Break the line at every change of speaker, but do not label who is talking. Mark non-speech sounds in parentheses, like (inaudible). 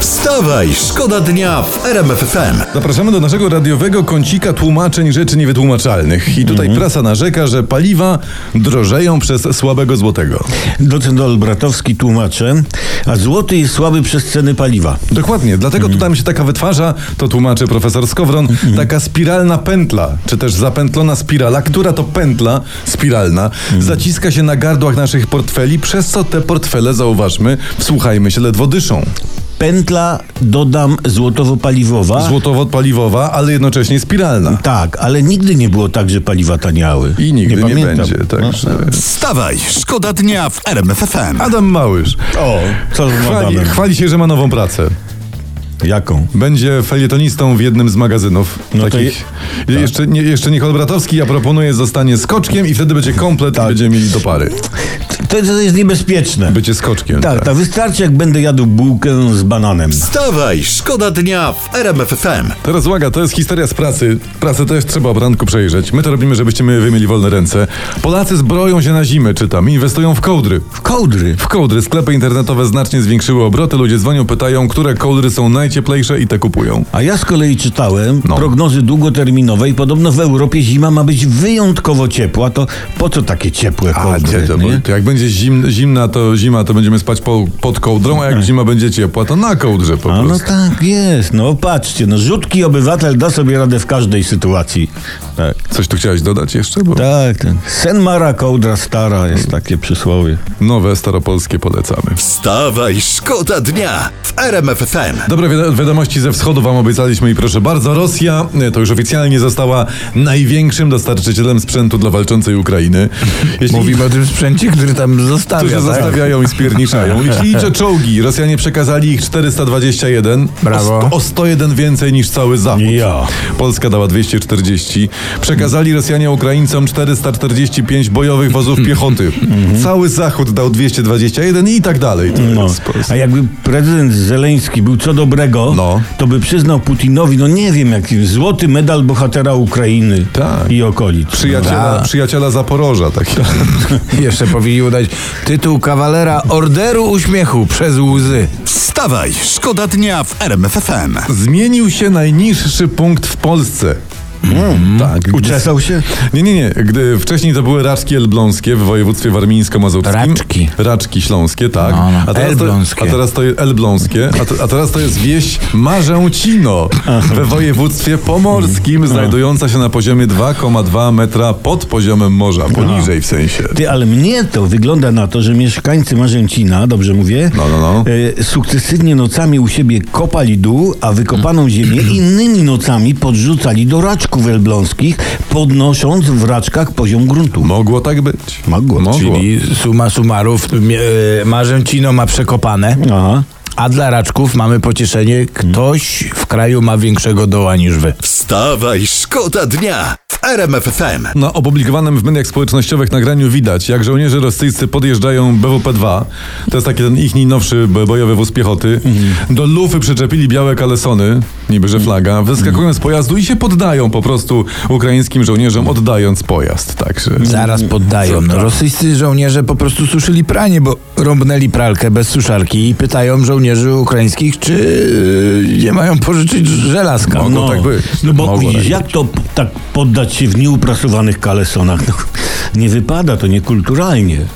Wstawaj, szkoda dnia w RMF FM.
Zapraszamy do naszego radiowego kącika tłumaczeń rzeczy niewytłumaczalnych. I tutaj
Mhm.
prasa narzeka, że paliwa drożeją przez słabego złotego.
Docent Olbratowski tłumaczy, a złoty jest słaby przez ceny paliwa. Mhm.
Dokładnie, dlatego tu nam się taka wytwarza, to tłumaczy profesor Skowron, taka spiralna pętla, czy też zapętlona spirala, która to pętla spiralna
Mhm.
zaciska się na gardłach naszych portfeli, przez co te portfele, zauważmy, wsłuchajmy się, ledwo dyszą.
Pętla, dodam, złotowo-paliwowa.
Złotowo-paliwowa, ale jednocześnie spiralna.
tak, ale nigdy nie było tak, że paliwa taniały.
I nigdy nie, No.
pamiętam. No.
będzie, tak, także...
Wstawaj, szkoda dnia w RMF FM.
Adam Małysz.
O, co z
Chwali,
Adamem?
chwali się, że ma nową pracę.
Jaką?
Będzie felietonistą w jednym z magazynów.
No to
takich. jeszcze, nie, jeszcze Nikol Bratowski, ja proponuję, zostanie skoczkiem i wtedy będzie komplet i będziemy mieli do pary.
To, to jest niebezpieczne.
Bycie skoczkiem.
tak, tak, wystarczy jak będę jadł bułkę z bananem.
Wstawaj, szkoda dnia w RMF FM.
Teraz uwaga, to jest historia z pracy. Pracę też trzeba o ranku przejrzeć. My to robimy, żebyście my wy mieli wolne ręce. Polacy zbroją się na zimę, czytam, i inwestują w kołdry.
Kołdry.
W kołdry sklepy internetowe znacznie zwiększyły obroty, ludzie dzwonią, pytają, które kołdry są najcieplejsze i te kupują.
A ja z kolei czytałem
No.
prognozy długoterminowe i podobno w Europie zima ma być wyjątkowo ciepła. To po co takie ciepłe
A,
kołdry?
nie, to,
nie?
to jak będzie zim, zimna, to zima, to będziemy spać po, pod kołdrą, a jak zima będzie ciepła, to na kołdrze po
Tak. A no
prostu.
tak jest, no patrzcie, no rzutki obywatel da sobie radę w każdej sytuacji. Tak.
Coś tu chciałeś dodać jeszcze? Bo
Tak, ten. Sen Mara kołdra stara jest takie przysłowie.
Nowe staropolskie polecamy.
Wstawaj, szkoda dnia w RMF FM.
Dobre wiado- wiadomości ze wschodu wam obiecaliśmy i proszę bardzo, Rosja e, to już oficjalnie została największym dostarczycielem sprzętu dla walczącej
(laughs)
Ukrainy. Jeśli
Mówimy o tym sprzęcie, który tam
którzy
zostawia. Tak?
zostawiają i
(laughs)
spierniczają. Jeśli liczę czołgi, Rosjanie przekazali ich 421,
Brawo.
O, sto- o 101 więcej niż cały Zachód.
Ja.
Polska dała 240. Przekazali Rosjanie Ukraińcom 445 bojowych wozów piechoty.
Mhm.
Cały Zachód dał 221 i tak dalej. To
No.
jest po prostu-
A jakby prezydent Zeleński był co dobrego,
No.
to by przyznał Putinowi, no nie wiem, jaki złoty medal bohatera Ukrainy
Tak.
i okolic.
Przyjaciela, przyjaciela Zaporoża. Tak. (laughs)
(laughs) Jeszcze powinni udać tytuł kawalera Orderu Uśmiechu przez łzy.
Wstawaj, szkoda dnia w RMF FM.
Zmienił się najniższy punkt w Polsce.
Hmm?
tak.
Uczesał się?
Nie, nie, nie. Gdy wcześniej to były raczki elbląskie w województwie warmińsko-mazurskim.
Raczki.
Raczki śląskie, tak.
No, no.
A, teraz to,
Elbląskie.
a teraz to jest elbląskie, a, te- a teraz to jest wieś Marzęcino we województwie
No.
pomorskim, znajdująca się na poziomie 2,2 metra pod poziomem morza,
No.
poniżej w sensie.
Ty, ale mnie to wygląda na to, że mieszkańcy Marzęcina, dobrze mówię,
No, no, no.
E, sukcesywnie nocami u siebie kopali dół, a wykopaną ziemię innymi nocami podrzucali do raczków elbląskich, podnosząc w raczkach poziom gruntu.
Mogło tak być.
Mogło,
Czyli suma summarów, mie- e, Marzęcino ma przekopane,
Aha.
a dla raczków mamy pocieszenie, ktoś w kraju ma większego doła niż wy.
Wstawaj, szkoda dnia w RMF FM.
Na opublikowanym w mediach społecznościowych nagraniu widać, jak żołnierze rosyjscy podjeżdżają BWP-2, to jest taki ten ich najnowszy b- bojowy wóz piechoty, do lufy przyczepili białe kalesony, niby że flaga, wyskakują z pojazdu i się poddają po prostu ukraińskim żołnierzom, oddając pojazd. Także...
Zaraz
Mm.
poddają. No, rosyjscy żołnierze po prostu suszyli pranie, bo rąbnęli pralkę bez suszarki i pytają żołnierzy ukraińskich, czy yy, nie mają pożyczyć żelazka.
Mogło tak być.
No bo
Mogło
widzisz,
tak
jak to p- tak poddać się w nieuprasowanych kalesonach? No, nie wypada, to niekulturalnie.